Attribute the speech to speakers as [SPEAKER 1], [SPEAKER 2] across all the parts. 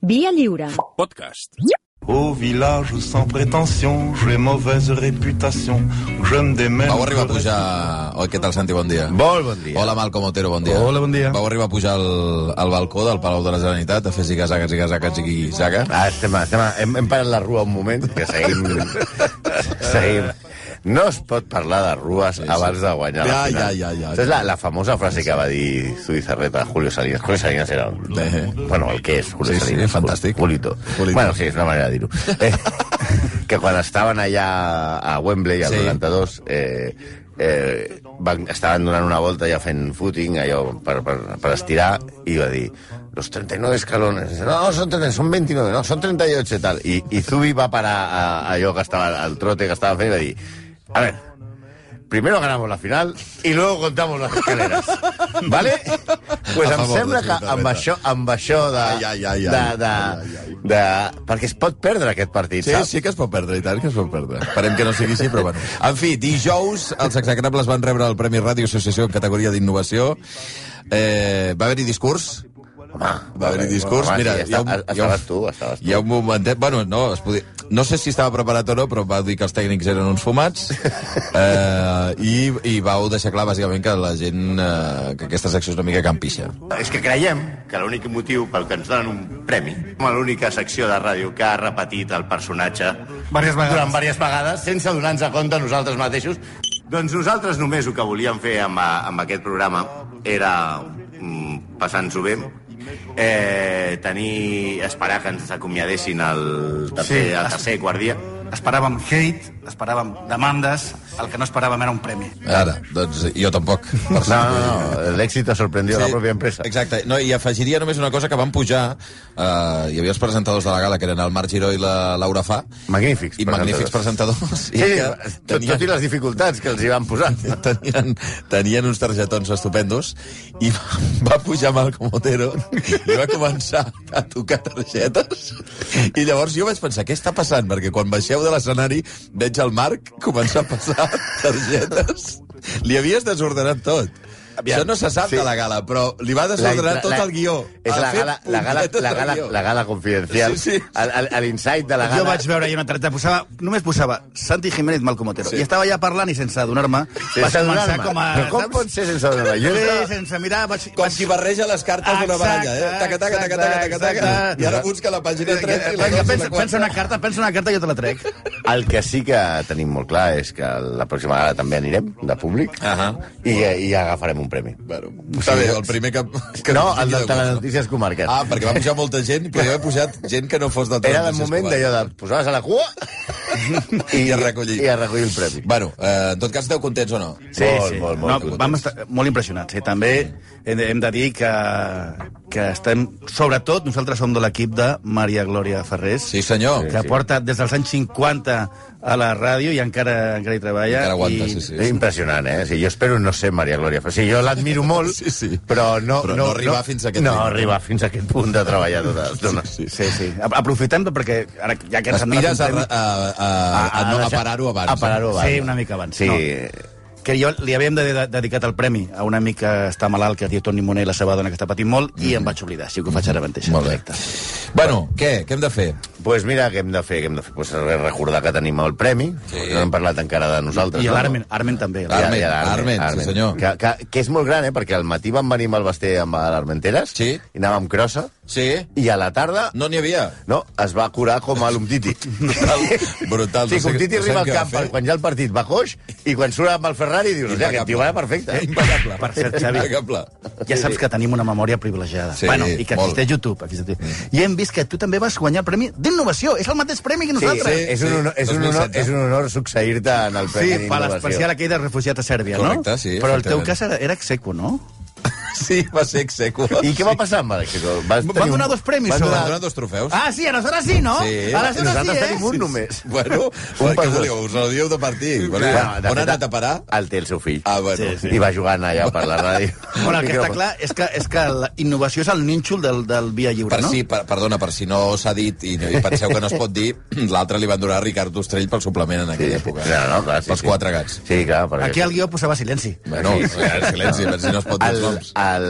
[SPEAKER 1] Via lliure.
[SPEAKER 2] Podcast.
[SPEAKER 3] Au village sans prétention, j'ai mauvaise réputation, je me démène...
[SPEAKER 4] Vau arribar a pujar... Oi, què tal, Santi? Bon dia.
[SPEAKER 5] Molt bon dia.
[SPEAKER 4] Hola, Malcom Otero, bon dia.
[SPEAKER 5] Hola, bon dia.
[SPEAKER 4] Vau arribar a pujar al, al balcó del Palau de la Generalitat a fer zigazaga, zigazaga, zigazaga.
[SPEAKER 5] Ah, estem, estem, hem, hem parat la rua un moment, que seguim... seguim. No es pot parlar de rues abans de guanyar
[SPEAKER 4] Ja,
[SPEAKER 5] la final.
[SPEAKER 4] ja, ja, ja.
[SPEAKER 5] Això és la, la famosa frase que va dir Zubizarreta a Julio Salinas. Julio Salinas era un...
[SPEAKER 4] Bé.
[SPEAKER 5] Bueno, el que és Julio
[SPEAKER 4] Sí, sí,
[SPEAKER 5] Salinas.
[SPEAKER 4] fantàstic.
[SPEAKER 5] Julito.
[SPEAKER 4] Julito.
[SPEAKER 5] Bueno, sí, és una manera de dir-ho. Eh, que quan estaven allà a Wembley, al
[SPEAKER 4] Sí.
[SPEAKER 5] sí. 92, eh, eh, van, estaven donant una volta ja fent footing, allò per, per, per estirar, i va dir los 39 escalones. No, no, son 39, son 29, no, son 38 i tal. I, i Zubi va parar a, a allò que estava, al trote que estava fent i va dir, a ver, Primero ganamos la final y luego contamos las escaleras. ¿Vale? Pues
[SPEAKER 4] A
[SPEAKER 5] em
[SPEAKER 4] favor
[SPEAKER 5] sembla
[SPEAKER 4] de
[SPEAKER 5] que amb
[SPEAKER 4] Zubizarreta.
[SPEAKER 5] això, amb això de,
[SPEAKER 4] Ai, ai, ai,
[SPEAKER 5] de,
[SPEAKER 4] ai.
[SPEAKER 5] de,
[SPEAKER 4] Ai, ai.
[SPEAKER 5] de... Perquè es pot perdre aquest partit,
[SPEAKER 4] Sí,
[SPEAKER 5] saps?
[SPEAKER 4] sí que es pot perdre, i tant que es pot perdre. Esperem que no sigui així, però bueno. En fi, dijous els execrables van rebre el Premi Ràdio Associació en categoria d'innovació. Eh, va haver-hi discurs?
[SPEAKER 5] Home,
[SPEAKER 4] Va haver-hi discurs.
[SPEAKER 5] home,
[SPEAKER 4] Mira,
[SPEAKER 5] sí,
[SPEAKER 4] hi ha un-
[SPEAKER 5] esta-
[SPEAKER 4] hi ha un-
[SPEAKER 5] estaves tu, estaves tu.
[SPEAKER 4] Hi ha un momentet... Bueno, no, es podia... no sé si estava preparat o no, però va dir que els tècnics eren uns fumats eh, i, i vau deixar clar, bàsicament, que la gent... Eh, que aquesta secció és una mica campixa.
[SPEAKER 6] És que creiem que l'únic motiu pel que ens donen un premi com a l'única secció de ràdio que ha repetit el personatge
[SPEAKER 7] Vàries vegades.
[SPEAKER 6] durant diverses vegades sense donar-nos compte nosaltres mateixos. Doncs nosaltres només el que volíem fer amb, a- amb aquest programa era mm, passant-s'ho bé, eh, tenir, esperar que ens acomiadessin el tercer,
[SPEAKER 7] Sí.
[SPEAKER 6] el tercer i quart dia.
[SPEAKER 7] Esperàvem hate, esperàvem demandes, el que no esperàvem era un premi.
[SPEAKER 4] Ara, doncs jo tampoc. Per
[SPEAKER 5] No, no, no, l'èxit ha sorprendido sí. a la pròpia empresa.
[SPEAKER 4] Exacte. No, I afegiria només una cosa que van pujar... Eh, hi havia els presentadors de la gala, que eren el Marc Giró i la Laura Fa.
[SPEAKER 5] Magnífics
[SPEAKER 4] I magnífics presentadors.
[SPEAKER 5] Sí,
[SPEAKER 4] que
[SPEAKER 5] tot, tot i les dificultats que els hi van posar.
[SPEAKER 4] tenien, tenien uns targetons estupendos i va, va pujar Malcom Otero i va començar a tocar targetes i llavors jo vaig pensar, què està passant? Perquè quan baixeu de l'escenari veig el Marc començar a passar targetes. Li havies desordenat tot. Aviam,
[SPEAKER 5] Aviam,
[SPEAKER 4] Això no se sap
[SPEAKER 5] sí.
[SPEAKER 4] sí. de la gala, però li va desordenar la, tot el guió.
[SPEAKER 5] És
[SPEAKER 4] Ha
[SPEAKER 5] la
[SPEAKER 4] fet
[SPEAKER 5] gala, la gala,
[SPEAKER 4] punyetes
[SPEAKER 5] la
[SPEAKER 4] el
[SPEAKER 5] gala,
[SPEAKER 4] guió.
[SPEAKER 5] la gala confidencial.
[SPEAKER 4] Sí, sí.
[SPEAKER 5] El- el- el L'insight de la gala...
[SPEAKER 7] Jo vaig veure allà una targeta, posava, només posava Santi Jiménez Malcom Otero.
[SPEAKER 4] Sí.
[SPEAKER 7] Sí. I estava allà parlant i sense adonar-me.
[SPEAKER 5] Sí,
[SPEAKER 7] vaig
[SPEAKER 5] sense
[SPEAKER 7] començar
[SPEAKER 5] adonar-me.
[SPEAKER 7] com a...
[SPEAKER 5] Però com
[SPEAKER 7] saps?
[SPEAKER 5] pot ser sense adonar-me? Jo
[SPEAKER 7] Sí,
[SPEAKER 5] era-
[SPEAKER 7] sense mirar, vaig...
[SPEAKER 4] Com
[SPEAKER 7] vaig...
[SPEAKER 4] qui barreja les cartes d'una baralla, eh? Taca, taca, taca, taca, taca, taca.
[SPEAKER 7] exacte.
[SPEAKER 4] I ara busca la pàgina 3 i la
[SPEAKER 7] Vinga,
[SPEAKER 4] 2 i la 4.
[SPEAKER 7] pensa, pensa una carta, pensa una carta i jo te la trec.
[SPEAKER 5] El que sí que tenim molt clar és que la pròxima vegada també anirem, de públic,
[SPEAKER 4] Ahà.
[SPEAKER 5] i, i agafarem un premi.
[SPEAKER 4] Bueno, està bé, el primer que... que
[SPEAKER 5] no, el de
[SPEAKER 4] tingui
[SPEAKER 5] Telenotícies Comarques.
[SPEAKER 4] Ah, perquè va pujar molta gent, però hi ha pujat gent que no fos de
[SPEAKER 5] Era el
[SPEAKER 4] Telenotícies
[SPEAKER 5] moment d'allò de posaves a la cua
[SPEAKER 4] I a recollir.
[SPEAKER 5] I a recollir el premi.
[SPEAKER 4] Bueno, eh, en tot cas, esteu contents o no?
[SPEAKER 5] Sí, molt, sí. molt, molt.
[SPEAKER 7] no,
[SPEAKER 5] No,
[SPEAKER 7] vam estar molt impressionats. Eh? També hem, hem de dir que, que estem... Sobretot, nosaltres som de l'equip de Maria Glòria Ferrés,
[SPEAKER 4] Sí, senyor.
[SPEAKER 7] que porta des dels anys 50 a la ràdio i encara, encara hi treballa.
[SPEAKER 4] Encara aguanta,
[SPEAKER 7] i...
[SPEAKER 4] sí, sí.
[SPEAKER 5] És impressionant, eh? O sigui, jo espero no ser Maria Glòria. O sigui, jo l'admiro molt,
[SPEAKER 4] Sí, sí.
[SPEAKER 5] però no...
[SPEAKER 4] Però no arribar fins a aquest
[SPEAKER 5] No
[SPEAKER 4] punt.
[SPEAKER 5] arribar fins a aquest punt de treballar tota l'estona.
[SPEAKER 4] Sí, sí.
[SPEAKER 7] Sí, sí. A- Aprofitem perquè ara ja que ens han
[SPEAKER 4] Aspires a,
[SPEAKER 7] donat un
[SPEAKER 4] a,
[SPEAKER 7] premi-
[SPEAKER 4] a, a, a, no, a
[SPEAKER 5] deixar-
[SPEAKER 4] parar-ho abans.
[SPEAKER 5] A parar-ho abans.
[SPEAKER 7] Sí, una mica abans.
[SPEAKER 5] Sí.
[SPEAKER 7] No. Que jo li havíem de, de, dedicat el premi a una mica està malalt que es diu Toni Moner, la seva dona que està patint molt, i em vaig oblidar, així que ho faig ara mateix.
[SPEAKER 4] Molt bé.
[SPEAKER 7] Perfecte.
[SPEAKER 4] Bueno, què? Què hem de fer?
[SPEAKER 5] pues mira, què hem de fer? Què hem de fer? Pues recordar que tenim el premi,
[SPEAKER 4] Sí.
[SPEAKER 5] sí. no hem parlat encara de nosaltres.
[SPEAKER 7] I
[SPEAKER 5] no?
[SPEAKER 7] l'Armen, Armen també.
[SPEAKER 4] Armen,
[SPEAKER 5] Ja, ja,
[SPEAKER 4] Armen, sí, senyor.
[SPEAKER 5] Que, que, que és molt gran, eh? Perquè al matí vam venir amb el Basté amb l'Armenteres
[SPEAKER 4] Sí.
[SPEAKER 5] i anàvem amb crossa
[SPEAKER 4] Sí?
[SPEAKER 5] i a la tarda no.
[SPEAKER 4] No n'hi havia.
[SPEAKER 5] no, es va curar com a l'Umtiti.
[SPEAKER 4] Brutal, brutal.
[SPEAKER 5] Sí,
[SPEAKER 4] no sé-
[SPEAKER 5] que Umtiti
[SPEAKER 4] no sé
[SPEAKER 5] arriba al
[SPEAKER 4] què va
[SPEAKER 5] camp
[SPEAKER 4] fer.
[SPEAKER 5] quan ja el partit va coix i quan surt amb el Ferrari dius, hòstia, aquest tio va perfecte.
[SPEAKER 4] Impecable.
[SPEAKER 7] Per cert, Xavi.
[SPEAKER 4] Impecable.
[SPEAKER 7] Ja saps que tenim una memòria privilegiada.
[SPEAKER 4] Sí,
[SPEAKER 7] bueno, I que
[SPEAKER 4] molt.
[SPEAKER 7] existeix YouTube. Existeix. I hem vist que tu també vas guanyar el premi d'innovació. És el mateix premi que
[SPEAKER 5] Sí,
[SPEAKER 7] nosaltres.
[SPEAKER 5] sí, és, un honor, és, un honor,
[SPEAKER 4] 2007.
[SPEAKER 5] és un honor succeir-te en el Premi
[SPEAKER 7] Sí, per
[SPEAKER 5] d'Innovació.
[SPEAKER 7] l'especial aquell de refugiat a Sèrbia,
[SPEAKER 4] Correcte,
[SPEAKER 7] no?
[SPEAKER 4] sí,
[SPEAKER 7] Però el teu
[SPEAKER 4] efectivament.
[SPEAKER 7] cas era, era execo, no?
[SPEAKER 4] Sí, va ser execo.
[SPEAKER 5] I què va passar amb Malexico? Vas
[SPEAKER 7] Van
[SPEAKER 5] tenir un-
[SPEAKER 7] donar dos premis,
[SPEAKER 5] Van
[SPEAKER 7] o?
[SPEAKER 4] Van
[SPEAKER 5] donar
[SPEAKER 4] donar dos trofeus.
[SPEAKER 7] Ah, sí, aleshores sí, no?
[SPEAKER 4] Sí.
[SPEAKER 7] aleshores
[SPEAKER 5] Nosaltres
[SPEAKER 7] sí, eh?
[SPEAKER 5] tenim un només.
[SPEAKER 4] Bueno,
[SPEAKER 5] Un
[SPEAKER 4] què
[SPEAKER 5] per dos.
[SPEAKER 4] voleu? Us el dieu de partir. Bueno,
[SPEAKER 5] de
[SPEAKER 4] on ha
[SPEAKER 5] fet,
[SPEAKER 4] anat a parar?
[SPEAKER 5] El té el seu fill.
[SPEAKER 4] Ah, bueno.
[SPEAKER 7] Sí, sí.
[SPEAKER 5] I va jugant allà per la ràdio.
[SPEAKER 7] Bueno, el que està clar és que, és que la innovació és el nínxol del, del Via Lliure,
[SPEAKER 4] Per
[SPEAKER 7] no?
[SPEAKER 4] si, per, perdona, per si no s'ha dit i, no- i penseu que no es pot dir, l'altre li van donar a Ricard Ostrell pel suplement en aquella època.
[SPEAKER 5] No, no, clar, sí,
[SPEAKER 4] Pels
[SPEAKER 5] sí.
[SPEAKER 4] quatre gats.
[SPEAKER 5] Sí, clar, perquè...
[SPEAKER 7] Aquí el guió posava silenci.
[SPEAKER 4] Bueno, en silenci, a veure si no es pot dir els
[SPEAKER 5] el,
[SPEAKER 4] noms.
[SPEAKER 5] el,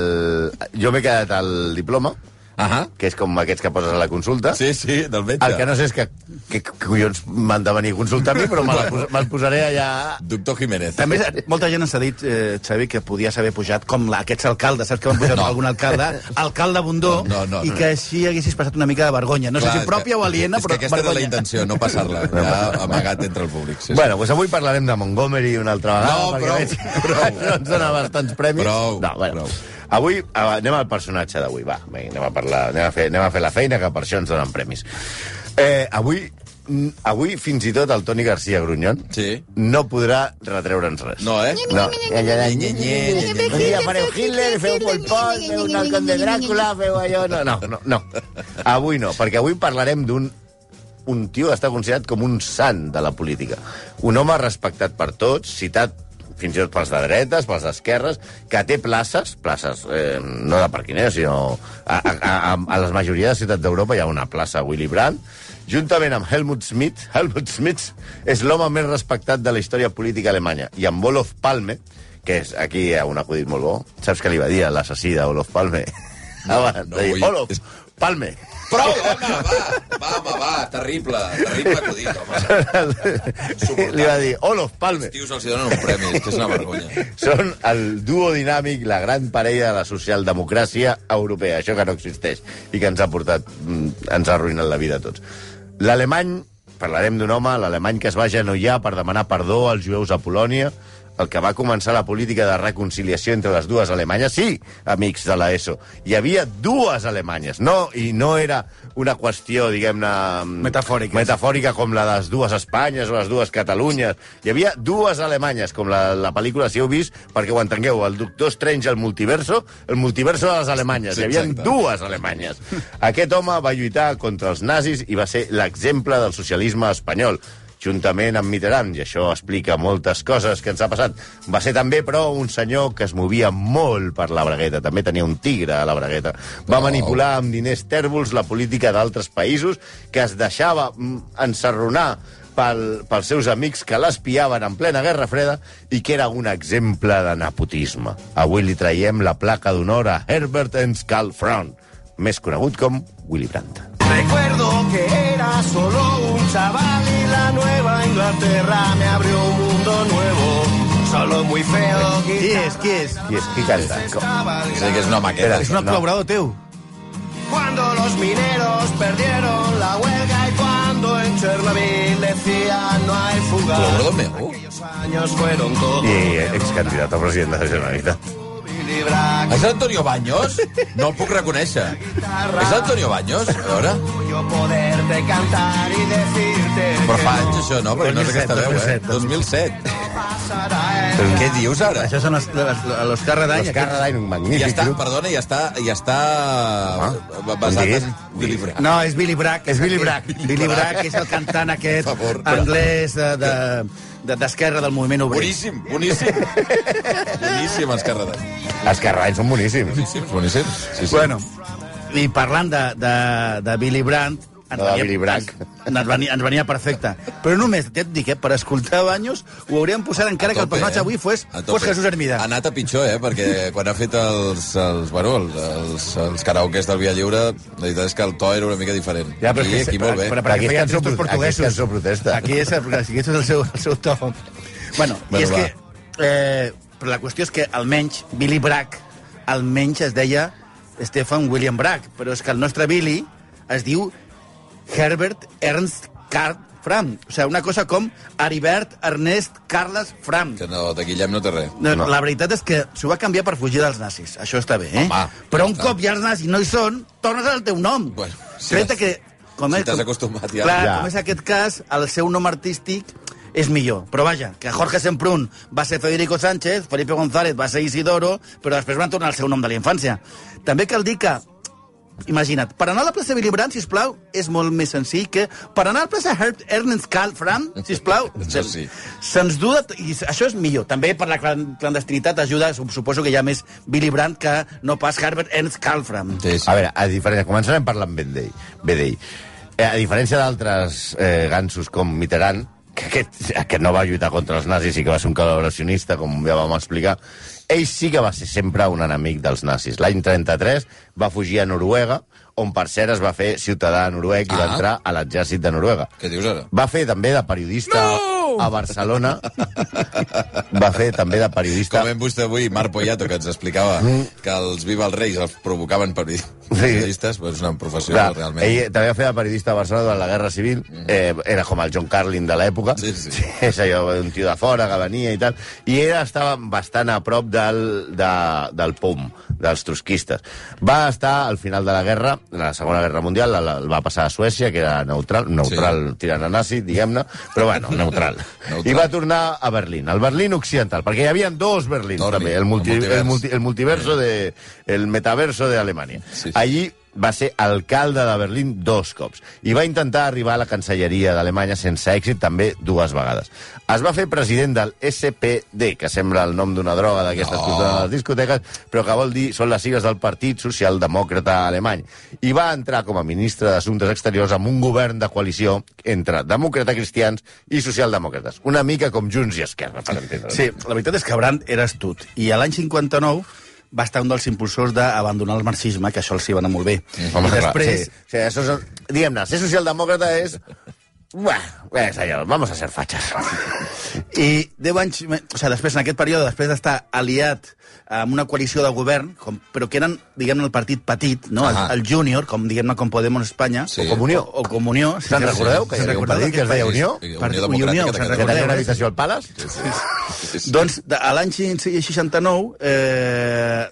[SPEAKER 5] jo m'he quedat al diploma
[SPEAKER 4] Ahà.
[SPEAKER 5] que és com aquests que poses a la consulta.
[SPEAKER 4] Sí, sí, del metge.
[SPEAKER 5] El que no sé és que, que, que collons m'han de venir a consultar a mi, però me la pos- me'l posaré allà...
[SPEAKER 4] Doctor Jiménez.
[SPEAKER 7] També molta gent ens ha dit, eh, Xavi, que podies haver pujat com la, aquests alcaldes, saps que van pujar no. algun alcalde, alcalde Bundó,
[SPEAKER 4] No, no, no,
[SPEAKER 7] i
[SPEAKER 4] no.
[SPEAKER 7] que així haguessis passat una mica de vergonya. No sé si pròpia o aliena,
[SPEAKER 4] és
[SPEAKER 7] però
[SPEAKER 4] que aquesta
[SPEAKER 7] vergonya.
[SPEAKER 4] era la intenció, no passar-la. Ja amagat entre el públic. Sí, sí.
[SPEAKER 5] Bueno, doncs avui parlarem de Montgomery una altra vegada.
[SPEAKER 4] No,
[SPEAKER 5] perquè
[SPEAKER 4] prou,
[SPEAKER 5] veig que
[SPEAKER 4] prou.
[SPEAKER 5] No ens dona bastants premis.
[SPEAKER 4] Prou,
[SPEAKER 5] no, bueno.
[SPEAKER 4] prou.
[SPEAKER 5] Avui eh, anem al personatge d'avui, va. Vinga, Anem a, parlar, anem, a fer, anem a fer la feina, que per això ens donen premis. Eh, avui, mm, avui fins i tot el Toni García Grunyón
[SPEAKER 4] Sí.
[SPEAKER 5] no podrà retreure'ns res.
[SPEAKER 4] No, eh?
[SPEAKER 5] No.
[SPEAKER 4] Nye, nye, nye, nye,
[SPEAKER 5] Un
[SPEAKER 4] nye.
[SPEAKER 5] dia fareu Hitler, feu Pol Pot, feu un halcón de Dràcula, feu allò... No, no, no, no. Avui no, perquè avui parlarem d'un un tio que està considerat com un sant de la política. Un home respectat per tots, citat fins i tot pels de dretes, pels d'esquerres, que té places, places eh, no de parquiners, sinó a, a, a, a les majoria de ciutats d'Europa hi ha una plaça a Willy Brandt, juntament amb Helmut Schmidt. Helmut Schmidt és l'home més respectat de la història política alemanya. I amb Olof Palme, que és aquí hi ha un acudit molt bo, saps què li va dir a l'assassí d'Olof Palme? No,
[SPEAKER 4] no
[SPEAKER 5] no, dir,
[SPEAKER 4] vull-
[SPEAKER 5] Olof, Palme.
[SPEAKER 4] Prou, home, va, va, home, va, terrible, terrible acudit, home.
[SPEAKER 5] li va dir, Olof Palme.
[SPEAKER 4] Els tios els hi donen un premi, és que és una vergonya.
[SPEAKER 5] Són el duo dinàmic, la gran parella de la socialdemocràcia europea, això que no existeix i que ens ha portat, mm, ens ha arruïnat la vida a tots. L'alemany, parlarem d'un home, l'alemany que es va agenollar per demanar perdó als jueus a Polònia, el que va començar la política de reconciliació entre les dues Alemanyes, sí, amics de l'ESO, hi havia dues Alemanyes, no, i no era una qüestió, diguem-ne... mm,
[SPEAKER 7] Metafòrica.
[SPEAKER 5] Meta metafòrica com la de les dues Espanyes o les dues Catalunyes. Hi havia dues Alemanyes, com la, la pel·lícula, si heu vist, perquè ho entengueu, el Doctor Strange, el multiverso, el multiverso de les Alemanyes.
[SPEAKER 4] Sí,
[SPEAKER 5] Sí, Hi havia
[SPEAKER 4] exacte.
[SPEAKER 5] dues Alemanyes. Aquest home va lluitar contra els nazis i va ser l'exemple del socialisme espanyol juntament amb Mitterrand, i això explica moltes coses que ens ha passat. Va ser també, però, un senyor que es movia molt per la bragueta, també tenia un tigre a la bragueta. Va
[SPEAKER 4] Oh.
[SPEAKER 5] manipular manipular amb diners tèrbols la política d'altres països, que es deixava mm, ensarronar pel, pels seus amics que l'espiaven en plena Guerra Freda i que era un exemple de nepotisme. Avui li traiem la placa d'honor a Herbert Enskal Fraun, més conegut com Willy Brandt.
[SPEAKER 1] Recuerdo que era solo un chaval y la nueva Inglaterra me abrió un mundo nuevo. Solo muy feo.
[SPEAKER 7] Qui és, qui és?
[SPEAKER 5] I és qui canta? Com-
[SPEAKER 4] O sigui que és una maqueta.
[SPEAKER 7] És un
[SPEAKER 5] No.
[SPEAKER 7] col·laborador teu.
[SPEAKER 1] Cuando los mineros perdieron la huelga y cuando en Chernobyl decían no hay fuga.
[SPEAKER 4] Col·laborador meu?
[SPEAKER 1] Aquellos años fueron todo.
[SPEAKER 5] I excandidat a president de la Generalitat.
[SPEAKER 1] Billy Bragg,
[SPEAKER 4] És Antonio Baños? No el puc reconèixer. És Antonio Baños? A veure...
[SPEAKER 1] yo poderte cantar y decirte
[SPEAKER 4] Però
[SPEAKER 1] que
[SPEAKER 4] fa anys això, no? Perquè no és aquesta veu, eh? 2007.
[SPEAKER 1] pasará el
[SPEAKER 4] Què dius ara?
[SPEAKER 7] Això són els, les, los Carradany.
[SPEAKER 5] L'Oscar Radain,
[SPEAKER 4] I
[SPEAKER 5] un magnífic
[SPEAKER 4] està,
[SPEAKER 5] grup.
[SPEAKER 4] perdona, i està, i està eh,
[SPEAKER 5] Home,
[SPEAKER 4] basat
[SPEAKER 5] digues,
[SPEAKER 4] en Billy Bragg.
[SPEAKER 7] Ah, doncs No, és Billy Bragg. És
[SPEAKER 5] Billy Bragg.
[SPEAKER 7] Billy Bragg és el cantant aquest
[SPEAKER 4] Per favor.
[SPEAKER 7] anglès de- de- de- d'esquerra de, del moviment obrer.
[SPEAKER 4] Boníssim, boníssim. boníssim, els Carradà.
[SPEAKER 5] Els Carradines són boníssims.
[SPEAKER 4] Boníssims, boníssims. Sí, sí.
[SPEAKER 7] Bueno, i parlant de, de, de Billy Brandt, ens
[SPEAKER 5] No, de Billy Bragg.
[SPEAKER 7] Ens, ens, venia, ens venia perfecte. Però només, ja et dic, eh, per escoltar Banyos, ho hauríem posat encara que el personatge avui fos,
[SPEAKER 4] eh? A tope.
[SPEAKER 7] fos Jesús Hermida.
[SPEAKER 4] Ha anat a pitjor, eh? Perquè quan ha fet els, els, bueno, els, els, els karaokes del Via Lliure, la veritat és que el to era una mica diferent.
[SPEAKER 7] Ja, però és
[SPEAKER 4] aquí,
[SPEAKER 7] que-
[SPEAKER 4] aquí molt bé.
[SPEAKER 7] Però, però
[SPEAKER 5] Aquí és
[SPEAKER 7] aquí, feien
[SPEAKER 5] cançó
[SPEAKER 7] tristos
[SPEAKER 5] pro- aquí és
[SPEAKER 7] portuguesos.
[SPEAKER 5] cançó protesta.
[SPEAKER 7] Aquí és, aquí és el seu, el seu to. Bueno,
[SPEAKER 4] Bueno,
[SPEAKER 7] bueno i és
[SPEAKER 4] va.
[SPEAKER 7] que... Eh, però la qüestió és que almenys Billy Bragg, almenys es deia Stefan William Bragg, però és que el nostre Billy es diu Herbert Ernst Card Fram. O sigui, una cosa com Aribert Ernest Carles Fram.
[SPEAKER 4] Que no, de Guillem no té res.
[SPEAKER 7] No, no. La veritat és que s'ho va canviar per fugir dels nazis. Això està bé, eh?
[SPEAKER 4] Home,
[SPEAKER 7] Però un
[SPEAKER 4] clar.
[SPEAKER 7] cop ja els nazis no hi són, tornes al teu nom.
[SPEAKER 4] Bueno, si
[SPEAKER 7] Tret
[SPEAKER 4] t'has-
[SPEAKER 7] que...
[SPEAKER 4] si
[SPEAKER 7] és-
[SPEAKER 4] t'has acostumat ja.
[SPEAKER 7] Clar,
[SPEAKER 5] Ja.
[SPEAKER 7] com és aquest cas, el seu nom artístic és millor. Però vaja, que Jorge Semprún va ser Federico Sánchez, Felipe González va ser Isidoro, però després van tornar al seu nom de la infància. També cal dir que Imagina't, per anar a la plaça Billy Brandt, sisplau, és molt més senzill que per anar a la plaça Herb Ernest Carl Brandt, sisplau,
[SPEAKER 4] Això
[SPEAKER 7] se'ns
[SPEAKER 4] sí.
[SPEAKER 7] se'ns du... de- I això és millor. També per la clan- clandestinitat ajuda, sup- suposo que hi ha més Billy Brandt que no pas Herbert Ernst Carl Brandt.
[SPEAKER 4] Sí, sí.
[SPEAKER 5] A veure, a diferència... Començarem parlant ben d'ell. Bé d'ell. Eh, A diferència d'altres eh, gansos com Mitterrand, que aquest, aquest no va lluitar contra els nazis i que va ser un col·laboracionista, com ja vam explicar, ell sí que va ser sempre un enemic dels nazis. L'any 33 va fugir a Noruega, on per cert es va fer ciutadà noruec i va
[SPEAKER 4] Ah.
[SPEAKER 5] entrar a l'exèrcit de Noruega.
[SPEAKER 4] Què dius ara?
[SPEAKER 5] Va fer també de periodista
[SPEAKER 4] No!
[SPEAKER 5] a Barcelona. va fer també de periodista...
[SPEAKER 4] Com hem vist avui, Marc Poyato, que ens explicava
[SPEAKER 5] Mm.
[SPEAKER 4] que els Viva els Reis els provocaven per periodistes, però és una professió
[SPEAKER 5] Clar,
[SPEAKER 4] realment... Mhm.
[SPEAKER 5] ell també va fer de periodista a Barcelona durant la Guerra Civil. Eh, era com el John Carlin de l'època.
[SPEAKER 4] Sí, sí.
[SPEAKER 5] És allò d'un tio de fora que venia i tal. I ella estava bastant a prop del, de, del POM, dels trotskistes. Va estar al final de la guerra, de la Segona Guerra Mundial, la, la, el va passar a Suècia, que era neutral, neutral sí. tirant a nazi, diguem-ne, però bueno, neutral.
[SPEAKER 4] Neutral.
[SPEAKER 5] I va tornar a Berlín, al Berlín occidental, perquè hi havia dos Berlins,
[SPEAKER 4] Dormi,
[SPEAKER 5] també, el, multi,
[SPEAKER 4] el
[SPEAKER 5] el,
[SPEAKER 4] multivers.
[SPEAKER 5] multi, el multiverso de... el metaverso de Alemanya.
[SPEAKER 4] Sí, sí.
[SPEAKER 5] Allí va ser alcalde de Berlín dos cops i va intentar arribar a la cancelleria d'Alemanya sense èxit també dues vegades. Es va fer president del SPD, que sembla el nom d'una droga d'aquestes
[SPEAKER 4] No.
[SPEAKER 5] no. que es donen a les discoteques, però que vol dir, són les sigles del Partit Socialdemòcrata Alemany. I va entrar com a ministre d'Assumptes Exteriors amb un govern de coalició entre demòcrata-cristians i socialdemòcrates. Una mica com Junts i Esquerra, per entendre'ns.
[SPEAKER 7] Sí, la veritat és que Brandt era astut. I a l'any 59 va estar un dels impulsors d'abandonar el marxisme, que això els hi va anar molt bé.
[SPEAKER 5] Home,
[SPEAKER 7] I
[SPEAKER 5] clar,
[SPEAKER 7] després,
[SPEAKER 5] sí. O sigui, això són... Diguem-ne, ser socialdemòcrata és... Buah, bé, senyor, vamos a ser fatxes.
[SPEAKER 7] I 10 anys... me- O sigui, després, en aquest període, després d'estar aliat amb una coalició de govern, com, però que eren, diguem-ne, el partit petit, no? El,
[SPEAKER 4] Ahà.
[SPEAKER 7] el júnior, com, diguem-ne, com Podemos Espanya.
[SPEAKER 4] Sí.
[SPEAKER 5] O Comunió.
[SPEAKER 7] O, o Comunió. Sí,
[SPEAKER 5] Se'n recordeu que hi havia un
[SPEAKER 7] Recordeu
[SPEAKER 5] partit que es
[SPEAKER 7] d'aquest
[SPEAKER 5] deia Unió?
[SPEAKER 7] partit?
[SPEAKER 4] Unió Democràtica de Catalunya.
[SPEAKER 7] Unió, se'n
[SPEAKER 5] Que tenia
[SPEAKER 7] recordeu?
[SPEAKER 5] una
[SPEAKER 7] eh?
[SPEAKER 5] habitació al Palace?
[SPEAKER 7] Doncs de- a l'any 69 eh,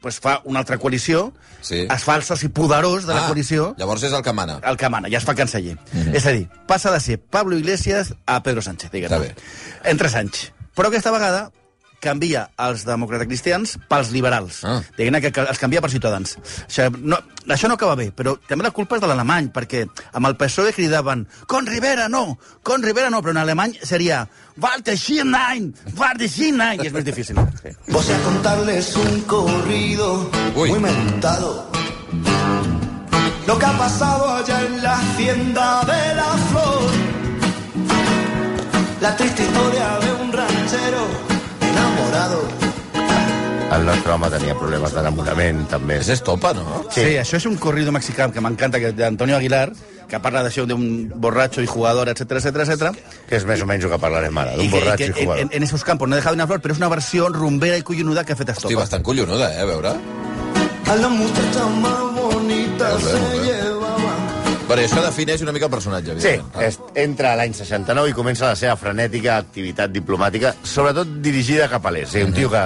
[SPEAKER 7] pues fa una altra coalició,
[SPEAKER 4] Sí. Ah,
[SPEAKER 7] es fa el soci poderós de la coalició,
[SPEAKER 4] Llavors és el que mana.
[SPEAKER 7] el que mana, ja es fa canceller.
[SPEAKER 4] Mhm.
[SPEAKER 7] És a dir, passa de ser Pablo Iglesias a Pedro Sánchez,
[SPEAKER 4] Està
[SPEAKER 7] diguem-ne.
[SPEAKER 4] bé.
[SPEAKER 7] En tres anys. Però aquesta vegada canvia els democratacristians pels liberals.
[SPEAKER 4] Ah.
[SPEAKER 7] Diguem-ne que, que els canvia per ciutadans. Això no, això no acaba bé, però també la culpa és de l'alemany, perquè amb el PSOE E cridaven Con Rivera no, Con Rivera no, però en alemany seria Walter Schienein, Walter Schienein, i és més difícil.
[SPEAKER 1] Voy a contarles un corrido
[SPEAKER 4] Uy.
[SPEAKER 1] muy mentado. Lo que ha pasado allá en la hacienda de la flor. La triste historia de un ranchero enamorado.
[SPEAKER 5] El nostre home tenia problemes d'enamorament, també.
[SPEAKER 4] És estopa, no?
[SPEAKER 7] Sí. sí, això és un corrido mexicà que m'encanta, que d'Antonio Aguilar, que parla d'això d'un borratxo i jugador, etc etc etc.
[SPEAKER 5] Que és més o menys el que parlarem ara,
[SPEAKER 7] Y
[SPEAKER 5] d'un
[SPEAKER 7] que- y
[SPEAKER 5] borratxo i
[SPEAKER 7] que en, en-
[SPEAKER 5] jugador.
[SPEAKER 7] en esos campos no he dejado una flor, pero es una versión rumbera y cuyunuda que ha fet
[SPEAKER 4] Hosti,
[SPEAKER 7] Estopa.
[SPEAKER 4] bastant collonuda, eh, a veure.
[SPEAKER 1] A la muchacha más bonita
[SPEAKER 4] Muy bien, muy
[SPEAKER 1] se
[SPEAKER 4] bien.
[SPEAKER 1] llevaba.
[SPEAKER 4] Però això defineix una mica el personatge,
[SPEAKER 5] Sí,
[SPEAKER 4] evidentment.
[SPEAKER 5] es, entra a l'any 69 i comença la seva frenètica activitat diplomàtica, sobretot dirigida cap a l'est. Sí, un tio que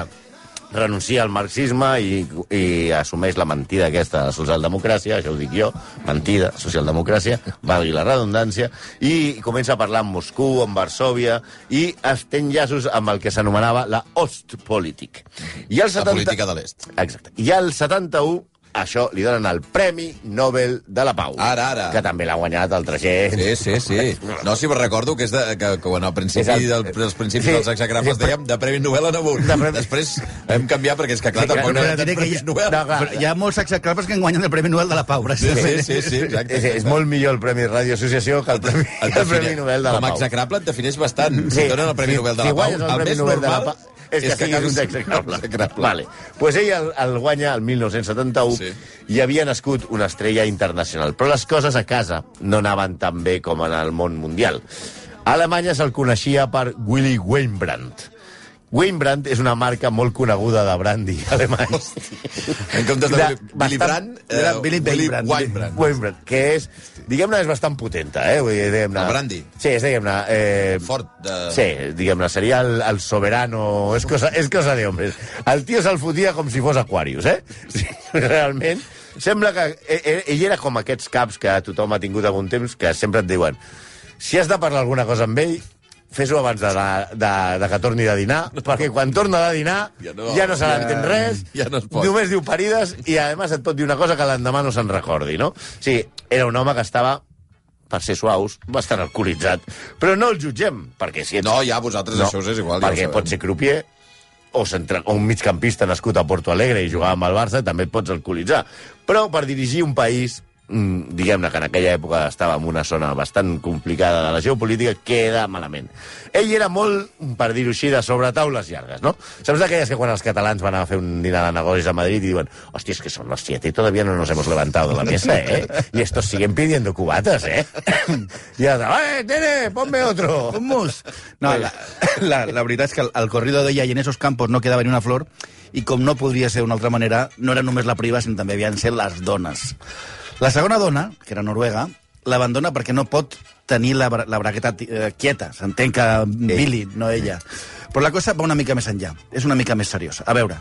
[SPEAKER 5] renuncia al marxisme i, i assumeix la mentida aquesta de la socialdemocràcia, això ho dic jo, mentida, socialdemocràcia, valgui la redundància, i comença a parlar amb Moscou, amb Varsovia, i es ten llaços amb el que s'anomenava la Ostpolitik. I el
[SPEAKER 4] La política de l'est.
[SPEAKER 5] Exacte. I al 71 això li donen el Premi Nobel de la Pau.
[SPEAKER 4] Ara, ara.
[SPEAKER 5] Que també l'ha guanyat altra gent.
[SPEAKER 4] Sí, sí, sí. No, sí, però recordo que és de, que, que bueno, al principi
[SPEAKER 5] És el-
[SPEAKER 4] del, dels principis
[SPEAKER 5] Sí,
[SPEAKER 4] dels hexagrames
[SPEAKER 5] sí, però-
[SPEAKER 4] dèiem de Premi Nobel en amunt.
[SPEAKER 5] De premi-
[SPEAKER 4] Després hem canviat perquè és que, clar,
[SPEAKER 5] Sí,
[SPEAKER 4] tampoc
[SPEAKER 5] clar,
[SPEAKER 4] no
[SPEAKER 5] però
[SPEAKER 4] hi ha
[SPEAKER 7] diré
[SPEAKER 4] tants
[SPEAKER 7] que
[SPEAKER 4] Premis
[SPEAKER 7] ja-
[SPEAKER 4] Nobel.
[SPEAKER 5] No, clar.
[SPEAKER 7] Però hi ha molts exacrables que guanyen el Premi Nobel de la Pau,
[SPEAKER 4] Sí,
[SPEAKER 7] gràcies.
[SPEAKER 4] sí, sí, sí, exacte.
[SPEAKER 5] És, és molt millor el Premi Radio Associació que el Premi,
[SPEAKER 4] Et
[SPEAKER 5] el
[SPEAKER 4] define-
[SPEAKER 5] premi Nobel de la
[SPEAKER 4] Com a
[SPEAKER 5] Pau.
[SPEAKER 4] execrable et defineix bastant. Sí, si
[SPEAKER 5] Sí,
[SPEAKER 4] et donen el Premi
[SPEAKER 5] sí,
[SPEAKER 4] Nobel de
[SPEAKER 5] si
[SPEAKER 4] la Pau,
[SPEAKER 5] guanyes el
[SPEAKER 4] el
[SPEAKER 5] Premi
[SPEAKER 4] més
[SPEAKER 5] Nobel de la
[SPEAKER 4] normal
[SPEAKER 5] Pau és que, siguis
[SPEAKER 4] acabis
[SPEAKER 5] un execrable.
[SPEAKER 4] execrable.
[SPEAKER 5] Vale. Pues ell el, el guanya el 1971
[SPEAKER 4] Sí.
[SPEAKER 5] sí. i havia nascut una estrella internacional. Però les coses a casa no anaven tan bé com en el món mundial. A Alemanya se'l coneixia per Willy Weinbrand. Weinbrand és una marca molt coneguda de brandy alemany.
[SPEAKER 4] En comptes doncs de,
[SPEAKER 5] Era
[SPEAKER 4] Billy
[SPEAKER 5] bastant-
[SPEAKER 4] Brandt, eh,
[SPEAKER 7] era Billy
[SPEAKER 4] Willy
[SPEAKER 7] Weinbrand.
[SPEAKER 4] Weinbrand.
[SPEAKER 5] Weinbrand, que és, diguem-ne, és bastant potenta, eh? Vull dir, diguem-ne...
[SPEAKER 4] El brandy.
[SPEAKER 5] Sí, és, diguem-ne... Eh,
[SPEAKER 4] Fort de-
[SPEAKER 5] Sí, diguem-ne, seria el, el soberano... És cosa, és cosa de hombres. El tio se'l fotia com si fos Aquarius, eh? Sí, realment. Sembla que... eh, eh, Ell era com aquests caps que tothom ha tingut algun temps, que sempre et diuen si has de parlar alguna cosa amb ell, fes-ho abans de, la, de, de que torni de dinar, perquè quan torna de dinar
[SPEAKER 4] Ja
[SPEAKER 5] ja
[SPEAKER 4] no-
[SPEAKER 5] no, ja no se l'entén
[SPEAKER 4] ja-
[SPEAKER 5] res,
[SPEAKER 4] ja no es pot.
[SPEAKER 5] només diu parides i, a més, et pot dir una cosa que l'endemà no se'n recordi, no? O sigui, era un home que estava per ser suaus, bastant alcoholitzat. Però no el jutgem, perquè si ets...
[SPEAKER 4] No, ja, vosaltres això us és igual, ja ho
[SPEAKER 5] Perquè
[SPEAKER 4] sabem.
[SPEAKER 5] pots ser crupier o, centra, o un migcampista nascut a Porto Alegre i jugar amb el Barça, també et pots alcoholitzar. Però per dirigir un país mm, diguem-ne que en aquella època estava en una zona bastant complicada de la geopolítica, queda malament. Ell era molt, per dir-ho així, de sobre taules llargues, no? Saps d'aquelles que quan els catalans van a fer un dinar de negocis a Madrid i diuen hòstia, és que són les 7 i todavía no nos hemos levantado de la mesa, eh? Y estos siguen pidiendo cubatas, eh? I ara, eh, nene, ponme otro!
[SPEAKER 7] ¡Hummus! No, la, la, la veritat és que el, el corrido d'ella i en esos campos no quedava ni una flor i com no podria ser d'una altra manera, no era només la priva, sinó també havien de ser les dones. La segona dona, que era noruega, l'abandona perquè no pot tenir la, bra- la braqueta ti- eh, quieta. S'entén que Billy, no ella. Però la cosa va una mica més enllà. És una mica més seriosa. A veure,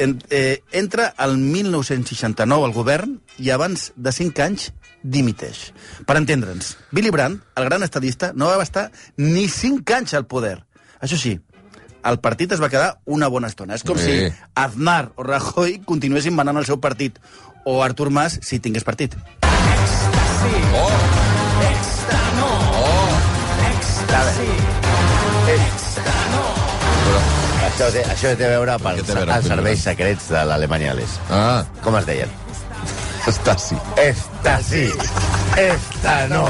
[SPEAKER 7] en, eh, entra al 1969 al govern i abans de 5 anys dimiteix. Per entendre'ns, Billy Brandt, el gran estadista, no va estar ni 5 anys al poder. Això sí, el partit es va quedar una bona estona. És com
[SPEAKER 4] Bé.
[SPEAKER 7] si Aznar o Rajoy continuessin manant el seu partit o Artur Mas si tingués partit.
[SPEAKER 5] Això té, això té a veure
[SPEAKER 4] Què
[SPEAKER 5] pels
[SPEAKER 4] té a veure,
[SPEAKER 5] els serveis secrets de l'Alemanya a l'est.
[SPEAKER 4] Ah,
[SPEAKER 5] Com es deien?
[SPEAKER 4] està sí.
[SPEAKER 5] Esta sí, esta no.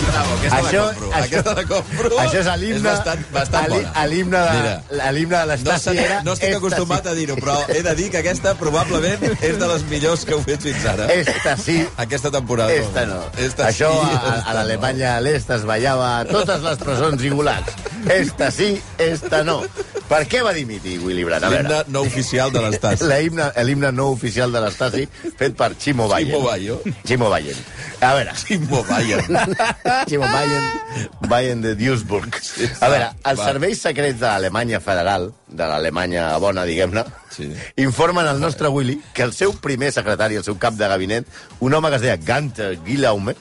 [SPEAKER 4] Bravo, aquesta
[SPEAKER 5] Això-
[SPEAKER 4] la compro.
[SPEAKER 5] això-
[SPEAKER 4] aquesta la compro.
[SPEAKER 5] Això és l'himne...
[SPEAKER 4] És bastant, bastant
[SPEAKER 5] a l'hi-
[SPEAKER 4] bona.
[SPEAKER 5] a l'himne de,
[SPEAKER 4] Mira,
[SPEAKER 5] a l'himne de
[SPEAKER 4] no,
[SPEAKER 5] l'Estasi
[SPEAKER 4] sé,
[SPEAKER 5] era
[SPEAKER 4] no estic
[SPEAKER 5] esta
[SPEAKER 4] acostumat a dir-ho, però he de dir que aquesta probablement és de les millors que heu fet fins ara.
[SPEAKER 5] sí, Esta sí,
[SPEAKER 4] Aquesta temporada.
[SPEAKER 5] esta no.
[SPEAKER 4] eh? Esta
[SPEAKER 5] Això
[SPEAKER 4] sí,
[SPEAKER 5] a,
[SPEAKER 4] esta
[SPEAKER 5] a
[SPEAKER 4] no.
[SPEAKER 5] l'Alemanya a l'est es ballava a totes les presons i gulags. Esta sí, esta no. Per què va dimitir Willy Brandt? A
[SPEAKER 4] L'himne
[SPEAKER 5] veure,
[SPEAKER 4] no oficial de l'estat.
[SPEAKER 5] la himne- l'himne no oficial de l'Estasi fet per Chimo Bayen.
[SPEAKER 4] Chimo Bayo.
[SPEAKER 5] Chimo Bayen. A veure,
[SPEAKER 4] Timo Bayern.
[SPEAKER 5] Chimo Bayen, Bayen de Duisburg. A veure, els
[SPEAKER 4] va.
[SPEAKER 5] serveis secrets de l'Alemanya federal, de l'Alemanya bona, diguem-ne,
[SPEAKER 4] Sí.
[SPEAKER 5] informen al nostre Willy que el seu primer secretari, el seu cap de gabinet, un home que es deia Gunther Guillaume,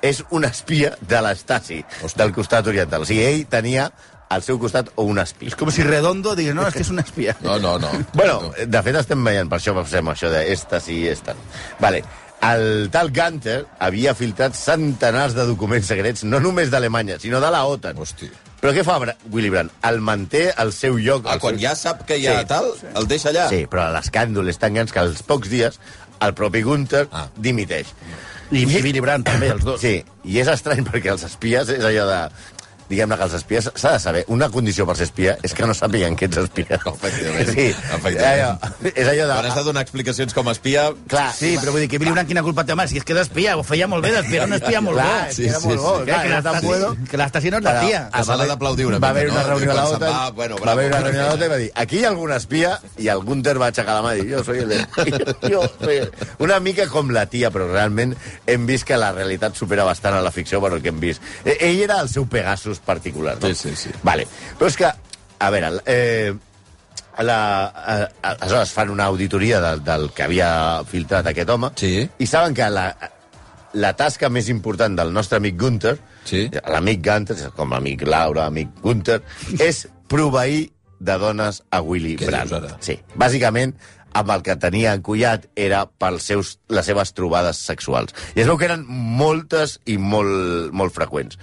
[SPEAKER 5] és un espia de l'Estasi, del costat oriental. O sigui, ell tenia al seu costat o un espia.
[SPEAKER 7] És com si Redondo digués, no, és que és un espia.
[SPEAKER 4] No, no, no.
[SPEAKER 5] Bueno, de fet estem veient, per això fem això de esta sí, esta no. Vale. El tal Gunter havia filtrat centenars de documents secrets, no només d'Alemanya, sinó de la OTAN.
[SPEAKER 4] Hosti.
[SPEAKER 5] Però què fa Bra- Willy Brandt? El manté al seu lloc.
[SPEAKER 4] Ah,
[SPEAKER 5] al
[SPEAKER 4] quan
[SPEAKER 5] seu-
[SPEAKER 4] ja sap que hi ha
[SPEAKER 5] Sí.
[SPEAKER 4] tal, el deixa allà.
[SPEAKER 5] Sí, però l'escàndol és tan gran que als pocs dies el propi Gunter
[SPEAKER 4] Ah.
[SPEAKER 5] dimiteix.
[SPEAKER 7] I, I Billy Brandt també, els dos.
[SPEAKER 5] Sí, i és estrany perquè els espies és allò de... Diguem-ne que els espies s'ha de saber. Una condició per ser espia és que no sàpiguen que ets espia.
[SPEAKER 4] Efectivament,
[SPEAKER 5] Sí,
[SPEAKER 4] efectivament.
[SPEAKER 5] Allò, és allò de...
[SPEAKER 4] Quan has de donar explicacions com a espia...
[SPEAKER 5] Clar,
[SPEAKER 7] Sí, però vull dir que Billy Brandt quina culpa té, home, si és que d'espia, ho feia molt bé, d'espia, era un espia molt
[SPEAKER 5] Clar,
[SPEAKER 7] bo.
[SPEAKER 5] sí, era molt bo.
[SPEAKER 4] sí.
[SPEAKER 5] Clar,
[SPEAKER 7] que
[SPEAKER 5] era tan bueno.
[SPEAKER 7] l'Estasi- que l'Estasi no és la
[SPEAKER 5] Però-
[SPEAKER 7] tia.
[SPEAKER 4] Ah, se l'ha d'aplaudir una
[SPEAKER 5] Va haver
[SPEAKER 4] mica,
[SPEAKER 5] una
[SPEAKER 4] no?
[SPEAKER 5] reunió a la
[SPEAKER 4] Quan se'n
[SPEAKER 5] OTAN,
[SPEAKER 4] va, bueno,
[SPEAKER 5] va
[SPEAKER 4] bravo,
[SPEAKER 5] haver una
[SPEAKER 4] perfecte.
[SPEAKER 5] reunió a la OTAN i va dir, aquí hi ha algun espia, i el Gunter va aixecar la mà i dir, jo soy el... Jo soy el... Una mica com la tia, però realment hem vist que la realitat supera bastant a la ficció, bueno, que hem vist. Eh, Ell era el seu Pegasus particular, no?
[SPEAKER 4] Sí, sí, sí.
[SPEAKER 5] Vale. Però és que, a veure, eh, la, eh, aleshores fan una auditoria del, del que havia filtrat aquest home
[SPEAKER 4] Sí.
[SPEAKER 5] i saben que la, la tasca més important del nostre amic Gunther,
[SPEAKER 4] Sí.
[SPEAKER 5] l'amic Gunther, com l'amic Laura, amic Gunther, és proveir de dones a Willy
[SPEAKER 4] Què
[SPEAKER 5] Brandt.
[SPEAKER 4] dius ara?
[SPEAKER 5] Sí, bàsicament amb el que tenia encollat era pels seus, les seves trobades sexuals. I es veu que eren moltes i molt, molt freqüents.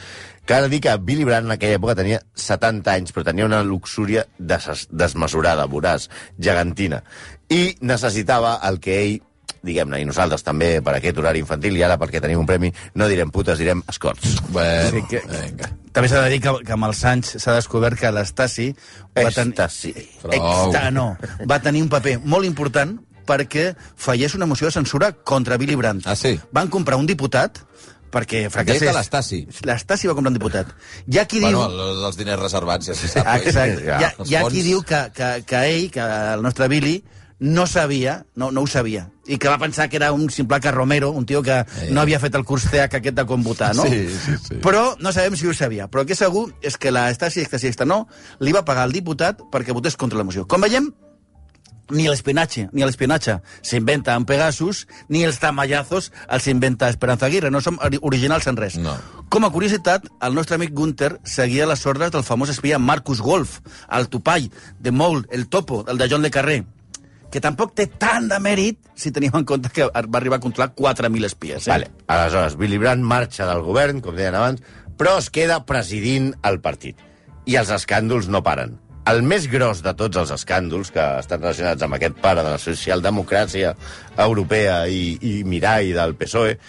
[SPEAKER 5] Cal dir que Billy Brandt en aquella època tenia 70 anys, però tenia una luxúria des desmesurada, voraç, gegantina. I necessitava el que ell diguem-ne, i nosaltres també, per aquest horari infantil, i ara perquè tenim un premi, no direm putes, direm escorts.
[SPEAKER 4] Bueno,
[SPEAKER 7] Sí, que-
[SPEAKER 4] vinga.
[SPEAKER 7] També s'ha de dir que, que amb els anys s'ha descobert que l'Estasi va, ten...
[SPEAKER 5] Estasi.
[SPEAKER 4] Prou.
[SPEAKER 7] Exta, no, va tenir un paper molt important perquè fallés una moció de censura contra Billy Brandt.
[SPEAKER 4] Ah, sí?
[SPEAKER 7] Van comprar un diputat perquè fracassés.
[SPEAKER 4] Deies de l'Estasi.
[SPEAKER 7] L'Estasi va comprar un diputat. Hi ha qui
[SPEAKER 4] Bueno,
[SPEAKER 7] diu...
[SPEAKER 4] el- els diners reservats, ja se sap. oi?
[SPEAKER 7] Exacte.
[SPEAKER 5] Ja,
[SPEAKER 7] Hi ha, hi ha
[SPEAKER 4] els
[SPEAKER 7] qui
[SPEAKER 4] fons.
[SPEAKER 7] diu que, que, que ell, que el nostre Billy, no sabia, no, no ho sabia, i que va pensar que era un simple carromero, un tio que
[SPEAKER 4] Eh.
[SPEAKER 7] no havia fet el curs TH aquest de com votar, no?
[SPEAKER 4] Sí, sí, sí.
[SPEAKER 7] Però no sabem si ho sabia. Però el que és segur és que la Stasi Stasi no li va pagar al diputat perquè votés contra la moció. Com veiem, ni l'espinatge, ni l'espinatge s'inventa en Pegasus, ni els tamallazos els inventa Esperanza Aguirre. No som ori- originals en res.
[SPEAKER 4] No.
[SPEAKER 7] Com a curiositat, el nostre amic Gunther seguia les ordres del famós espia Marcus Wolf, el Topall, de Moul, el Topo, el de John Le Carré, que tampoc té tant de mèrit si tenim en compte que va arribar a controlar 4.000 espies. Eh?
[SPEAKER 5] Vale. Aleshores, Billy Brandt marxa del govern, com deien abans, però es queda presidint el partit. I els escàndols no paren. el més gros de tots els escàndols que estan relacionats amb aquest pare de la socialdemocràcia europea i, i Mirall del PSOE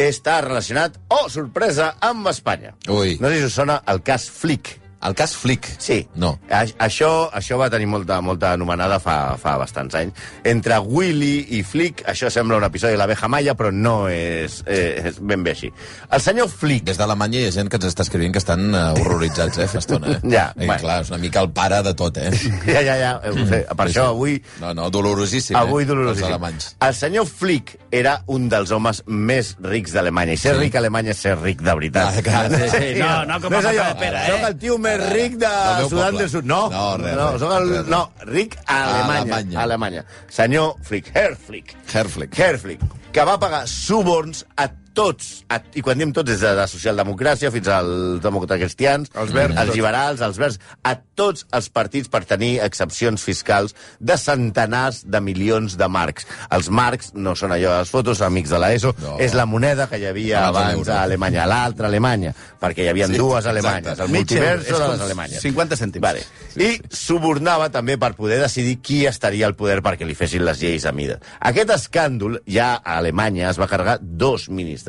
[SPEAKER 5] E, està relacionat, oh, sorpresa, amb Espanya.
[SPEAKER 4] Ui.
[SPEAKER 5] No sé si us sona el cas Flick.
[SPEAKER 4] El cas Flick.
[SPEAKER 5] Sí.
[SPEAKER 4] No.
[SPEAKER 5] A això, això va tenir molta, molta anomenada fa, fa bastants anys. Entre Willy i Flick, això sembla un episodi de la Veja Maya, però no és, eh, és ben bé així. El senyor Flick...
[SPEAKER 4] Des d'Alemanya hi ha gent que ens està escrivint que estan eh, horroritzats, eh, fa estona. Eh?
[SPEAKER 5] Ja,
[SPEAKER 4] I,
[SPEAKER 5] bueno.
[SPEAKER 4] clar, és una mica el pare de tot, eh?
[SPEAKER 5] Ja, ja, ja, eh, ho sé, per això avui...
[SPEAKER 4] No, no, dolorosíssim,
[SPEAKER 5] Avui
[SPEAKER 4] eh?
[SPEAKER 5] dolorosíssim.
[SPEAKER 4] Els alemanys.
[SPEAKER 5] El senyor Flick era un dels homes més rics d'Alemanya. I ser ric a Alemanya és ser ric de veritat.
[SPEAKER 4] Ah, clar, sí,
[SPEAKER 7] sí, no, no, com a
[SPEAKER 5] és
[SPEAKER 7] Papa
[SPEAKER 5] allò,
[SPEAKER 7] de Pera,
[SPEAKER 5] Soc
[SPEAKER 7] eh?
[SPEAKER 5] el tio més ric de
[SPEAKER 4] Del meu
[SPEAKER 5] Sudan
[SPEAKER 4] poble.
[SPEAKER 5] del Sud. No,
[SPEAKER 4] No, res,
[SPEAKER 5] no,
[SPEAKER 4] res,
[SPEAKER 5] soc el,
[SPEAKER 4] res, res.
[SPEAKER 5] no ric a Alemanya,
[SPEAKER 4] Alemanya.
[SPEAKER 5] a Alemanya. Senyor Flick, Herr Flick.
[SPEAKER 4] Herflick.
[SPEAKER 5] Herflick, que va pagar suborns a tots, a, i quan diem tots és de la socialdemocràcia fins als democratacristians, els, verds, els liberals, els verds, a tots els partits per tenir excepcions fiscals de centenars de milions de marcs. Els marcs no són allò de les fotos, amics de l'ESO,
[SPEAKER 4] No.
[SPEAKER 5] no. és la moneda que hi havia
[SPEAKER 4] Abans
[SPEAKER 5] abans
[SPEAKER 4] d'euro.
[SPEAKER 5] a Alemanya, l'altra Alemanya, perquè hi havia
[SPEAKER 4] Sí,
[SPEAKER 5] dues
[SPEAKER 4] exacte.
[SPEAKER 5] Alemanyes, el
[SPEAKER 7] Mitchell, és
[SPEAKER 5] multiverso de
[SPEAKER 7] com
[SPEAKER 5] les Alemanyes.
[SPEAKER 7] 50 cèntims.
[SPEAKER 5] Vale. I subornava també per poder decidir qui estaria al poder perquè li fessin les lleis a mida. Aquest escàndol ja a Alemanya es va carregar dos ministres.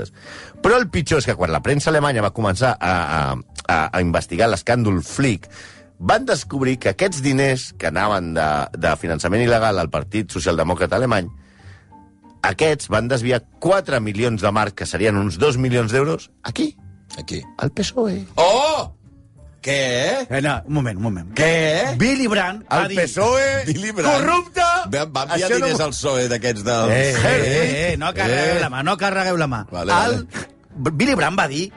[SPEAKER 5] Però el pitjor és que quan la premsa alemanya va començar a, a, a, a investigar l'escàndol Flick, van descobrir que aquests diners que anaven de, de finançament il·legal al Partit Socialdemòcrata Alemany aquests van desviar 4 milions de marcs, que serien uns 2 milions d'euros, aquí,
[SPEAKER 4] Aquí.
[SPEAKER 5] al PSOE.
[SPEAKER 4] Oh! Què?
[SPEAKER 7] Eh, no, un moment, un moment.
[SPEAKER 4] Què?
[SPEAKER 7] Billy Brandt va
[SPEAKER 5] El
[SPEAKER 7] dir...
[SPEAKER 5] PSOE
[SPEAKER 4] Billy Brandt.
[SPEAKER 5] E, corrupte!
[SPEAKER 4] Va, va enviar
[SPEAKER 5] Això no
[SPEAKER 4] diners
[SPEAKER 5] m'ho-
[SPEAKER 4] al PSOE E d'aquests del...
[SPEAKER 7] Eh, eh, eh, no carregueu
[SPEAKER 4] Eh.
[SPEAKER 7] la mà, no carregueu la mà.
[SPEAKER 4] Vale, vale.
[SPEAKER 7] El Billy Brandt va dir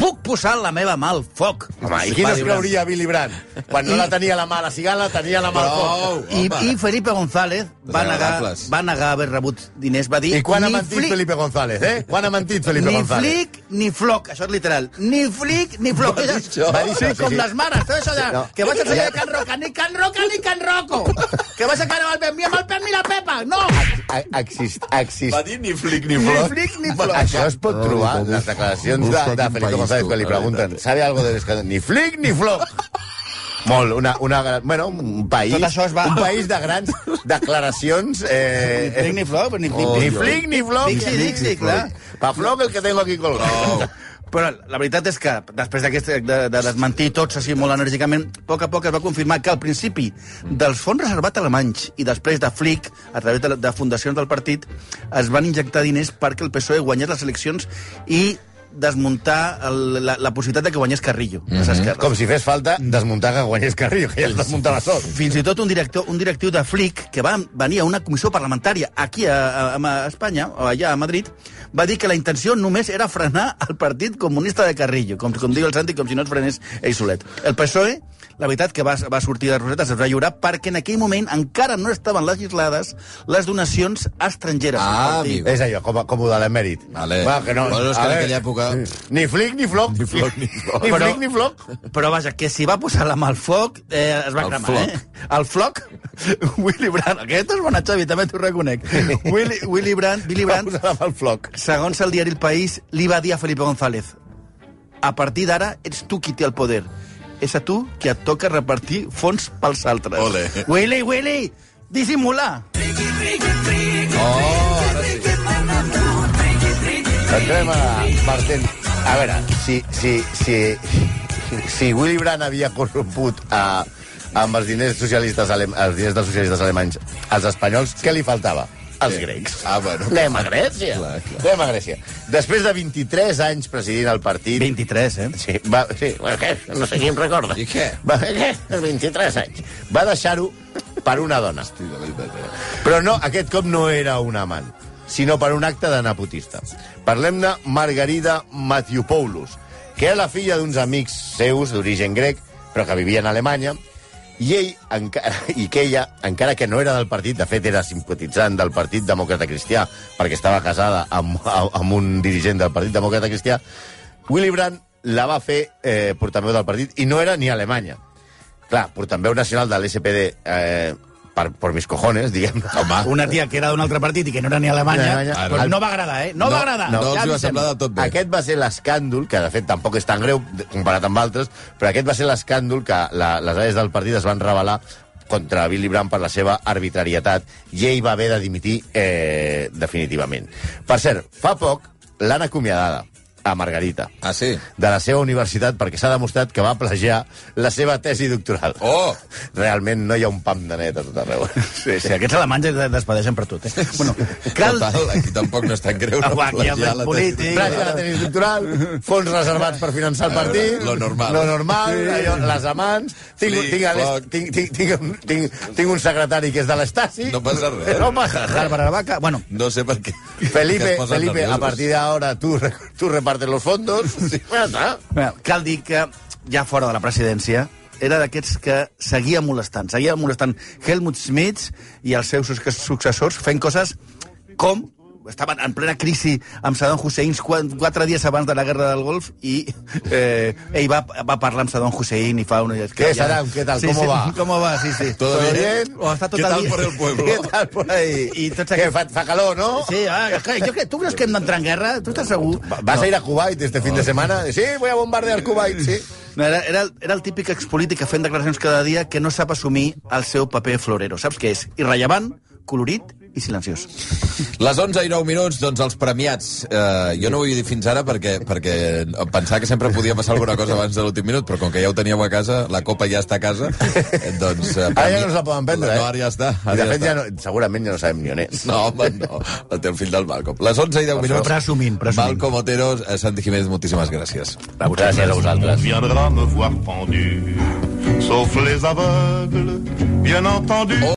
[SPEAKER 7] puc posar la meva mà al foc.
[SPEAKER 5] Home, i qui
[SPEAKER 7] Va
[SPEAKER 5] no es
[SPEAKER 7] dir Brandt.
[SPEAKER 5] creuria Billy Brandt? Quan no la tenia a la mà, la cigala la tenia a la mà al
[SPEAKER 4] Prou,
[SPEAKER 5] foc.
[SPEAKER 7] I,
[SPEAKER 4] home.
[SPEAKER 7] I Felipe González va negar,
[SPEAKER 4] Desagradables.
[SPEAKER 7] va negar haver rebut diners, va dir...
[SPEAKER 5] I quan ha
[SPEAKER 7] "Ni
[SPEAKER 5] mentit
[SPEAKER 7] flic,
[SPEAKER 5] Felipe González, eh? Quan ha mentit Felipe
[SPEAKER 7] ni
[SPEAKER 5] González?
[SPEAKER 7] flic ni floc, això és literal. Ni flic ni floc. Va
[SPEAKER 4] dir això?
[SPEAKER 7] Va dir
[SPEAKER 5] Sí,
[SPEAKER 7] sí,
[SPEAKER 5] sí,
[SPEAKER 7] com
[SPEAKER 5] sí.
[SPEAKER 7] les mares, tot això de...
[SPEAKER 5] No.
[SPEAKER 7] Que vaig ensenyar a Can Roca, ni Can Roca ni Can Roco. que vas a quedar amb el Pep, ni amb el Pep ni la Pepa, no!
[SPEAKER 5] A- Exist, exist.
[SPEAKER 4] Va dir ni flic ni
[SPEAKER 7] Ni
[SPEAKER 4] floc.
[SPEAKER 7] flic ni floc.
[SPEAKER 5] Això es pot trobar en les declaracions de, de Felipe González quan li pregunten ¿sabe algo de l'escàndol? Ni flic ni floc. Molt, una, una, gran- bueno, un país,
[SPEAKER 7] Tot això es va-
[SPEAKER 5] un país de grans declaracions... Eh,
[SPEAKER 7] Ni flic ni floc, ni flic
[SPEAKER 5] ni
[SPEAKER 7] ni floc.
[SPEAKER 5] flic ni floc.
[SPEAKER 7] Dixi, dixi, clar.
[SPEAKER 5] Pa floc el que tengo aquí colgado.
[SPEAKER 7] Però la veritat és que, després d'aquest de, de desmentir tots així molt enèrgicament, a poc a poc es va confirmar que al principi dels fons reservat alemanys i després de Flick, a través de, de fundacions del partit, es van injectar diners perquè el PSOE E guanyés les eleccions i desmuntar el, la, la possibilitat de que guanyés Carrillo, mm -hmm.
[SPEAKER 5] Com si fes falta desmuntar que guanyés Carrillo, que ja es desmuntava sol.
[SPEAKER 7] Fins i tot un director, un directiu de Flick, que va venir a una comissió parlamentària aquí a, a, a Espanya, o allà a Madrid, va dir que la intenció només era frenar el Partit Comunista de Carrillo, com, com diu el Santi, com si no es frenés ell solet. El PSOE, la veritat que va, va sortir de Rosetes, es va lliurar perquè en aquell moment encara no estaven legislades les donacions estrangeres.
[SPEAKER 4] Ah,
[SPEAKER 7] Al partit.
[SPEAKER 4] amigo.
[SPEAKER 5] És allò, com, a- com ho de l'emèrit.
[SPEAKER 4] Vale.
[SPEAKER 5] Va, que no,
[SPEAKER 4] Bueno, és que
[SPEAKER 5] a
[SPEAKER 4] en
[SPEAKER 5] veure,
[SPEAKER 4] aquella època-
[SPEAKER 5] Ni flic ni floc.
[SPEAKER 4] Ni floc, ni floc.
[SPEAKER 5] Ni
[SPEAKER 7] Però-
[SPEAKER 5] flic ni floc.
[SPEAKER 7] Però vaja, que si va posar la mà al foc, eh, es va
[SPEAKER 4] Al
[SPEAKER 7] cremar,
[SPEAKER 4] floc.
[SPEAKER 7] eh? El floc, Willy Brandt, aquest és bona Xavi, també t'ho reconec. Willy, Willy Brandt, Billy
[SPEAKER 5] Va
[SPEAKER 7] Brandt,
[SPEAKER 5] posar la mà al floc.
[SPEAKER 7] segons el diari El País, li va dir a Felipe González a partir d'ara ets tu qui té el poder. És a tu que et toca repartir fons pels altres.
[SPEAKER 4] Ole.
[SPEAKER 7] Willy, Willy, dissimular.
[SPEAKER 5] Entrem a Martín. A veure, si, si, si, si Willy Brandt havia corromput a, amb els diners socialistes alem, els diners dels socialistes alemanys als espanyols, què li faltava? Els grecs.
[SPEAKER 4] Ah, bueno.
[SPEAKER 5] Anem a Grècia.
[SPEAKER 4] Clar, clar.
[SPEAKER 5] Anem a Grècia. Després de 23 anys presidint el partit...
[SPEAKER 7] 23, eh?
[SPEAKER 5] Sí, va, sí, bueno, què? No sé qui em recorda.
[SPEAKER 4] I què?
[SPEAKER 5] Va, què? 23 anys. Va deixar-ho per una dona.
[SPEAKER 4] Hosti, de veritat, eh?
[SPEAKER 5] Però no, aquest cop no era un amant, sinó per un acte de nepotista. Parlem de Margarida Mathiopoulos, que era la filla d'uns amics seus d'origen grec, però que vivien a Alemanya, i, ell, encara, i que ella, encara que no era del partit, de fet era simpatitzant del Partit Demòcrata Cristià, perquè estava casada amb, amb un dirigent del Partit Demòcrata Cristià, Willy Brandt la va fer eh, portaveu del partit i no era ni a Alemanya clar, portaveu nacional de l'SPD eh, per, por mis cojones, diguem
[SPEAKER 4] Home,
[SPEAKER 7] Una tia que era d'un altre partit i que no era ni alemanya,
[SPEAKER 5] Ni Alemanya.
[SPEAKER 7] però
[SPEAKER 5] Ara.
[SPEAKER 7] no va agradar, eh? No, va agradar.
[SPEAKER 4] no
[SPEAKER 7] ja
[SPEAKER 4] els hi va
[SPEAKER 7] avisem.
[SPEAKER 4] semblar del tot bé.
[SPEAKER 5] Aquest va ser l'escàndol, que de fet tampoc és tan greu de- comparat amb altres, però aquest va ser l'escàndol que la, les àrees del partit es van revelar contra Billy Brandt per la seva arbitrarietat i ell va haver de dimitir eh, definitivament. Per cert, fa poc l'han acomiadada a Margarita
[SPEAKER 4] Ah, sí?
[SPEAKER 5] de la seva universitat perquè s'ha demostrat que va plagiar la seva tesi doctoral.
[SPEAKER 4] Oh!
[SPEAKER 5] Realment no hi ha un pam de net a tot arreu. Sí,
[SPEAKER 7] Sí, aquests alemanys es despedeixen per tot, eh? Bueno, cal...
[SPEAKER 4] Total, aquí tampoc no és tan greu.
[SPEAKER 7] Ah, guau, aquí hi ha
[SPEAKER 4] Plagiar la
[SPEAKER 7] polític.
[SPEAKER 4] tesi.
[SPEAKER 5] Plàgia de tenis doctoral, fons reservats per finançar el partit...
[SPEAKER 4] Lo normal.
[SPEAKER 5] Lo normal, allò, les amants... Tinc,
[SPEAKER 4] Flic,
[SPEAKER 5] tinc, a l'est-
[SPEAKER 4] floc.
[SPEAKER 5] tinc, tinc, tinc, un- tinc, tinc un secretari que és de l'Estasi...
[SPEAKER 4] No passa res.
[SPEAKER 5] No passa res.
[SPEAKER 7] Bàrbara Vaca, bueno,
[SPEAKER 4] No sé per què. que
[SPEAKER 5] Felipe,
[SPEAKER 4] es posen
[SPEAKER 5] Felipe a
[SPEAKER 4] nerviosos.
[SPEAKER 5] partir de ahora tú, re- tú repartes los fondos. Sí. Ja està.
[SPEAKER 7] Mira, cal dir que ja fora de la presidència era d'aquests que seguia molestant. Seguia molestant Helmut Schmidt i els seus suc- successors fent coses com estaven en plena crisi amb Saddam Hussein quan- quatre dies abans de la guerra del Golf i eh, ell va, va parlar amb Saddam Hussein i fa una...
[SPEAKER 5] Què, Saddam, què tal,
[SPEAKER 7] Sí,
[SPEAKER 5] com
[SPEAKER 7] sí,
[SPEAKER 5] va?
[SPEAKER 7] Com va, sí, sí.
[SPEAKER 4] Todo
[SPEAKER 5] Todo
[SPEAKER 4] bien?
[SPEAKER 5] bien?
[SPEAKER 7] O està tot
[SPEAKER 4] Què
[SPEAKER 7] el
[SPEAKER 4] tal
[SPEAKER 7] dia-
[SPEAKER 4] por el
[SPEAKER 5] Què
[SPEAKER 4] pueblo?
[SPEAKER 5] tal por ahí?
[SPEAKER 7] I tots
[SPEAKER 5] Què,
[SPEAKER 7] aquests-
[SPEAKER 5] fa, fa calor, no?
[SPEAKER 7] Sí, ah, és que jo, que- tu creus que hem d'entrar en guerra? Tu estàs segur?
[SPEAKER 5] Va- ¿Vas a ir a Kuwait este fin de semana? Sí, voy a bombardear Kuwait, sí.
[SPEAKER 7] No, era, era, el- era el típic expolític que fent declaracions cada dia que no sap assumir el seu paper florero. Saps què és? Irrellevant, colorit i silenciós.
[SPEAKER 4] Les 11 i 9 minuts, doncs els premiats. Eh, jo no ho vull dir fins ara perquè, perquè em pensava que sempre podia passar alguna cosa abans de l'últim minut, però com que ja ho teníeu a casa, la copa ja està a casa, eh, doncs... Eh,
[SPEAKER 5] Ara ja
[SPEAKER 4] premi-
[SPEAKER 5] no se la poden prendre, eh?
[SPEAKER 4] No, ara ja està.
[SPEAKER 5] I
[SPEAKER 4] Ara
[SPEAKER 5] de fet,
[SPEAKER 4] està.
[SPEAKER 5] ja no, segurament ja no sabem ni on és.
[SPEAKER 4] No, home, no. La té el fill del Malcolm. Les 11 i 10 minuts.
[SPEAKER 7] presumint, presumint.
[SPEAKER 4] Malcolm Otero, eh, Santi Jiménez, moltíssimes gràcies.
[SPEAKER 5] Gràcies a vosaltres.
[SPEAKER 1] viendra me voir pendu, sauf les aveugles, bien entendu.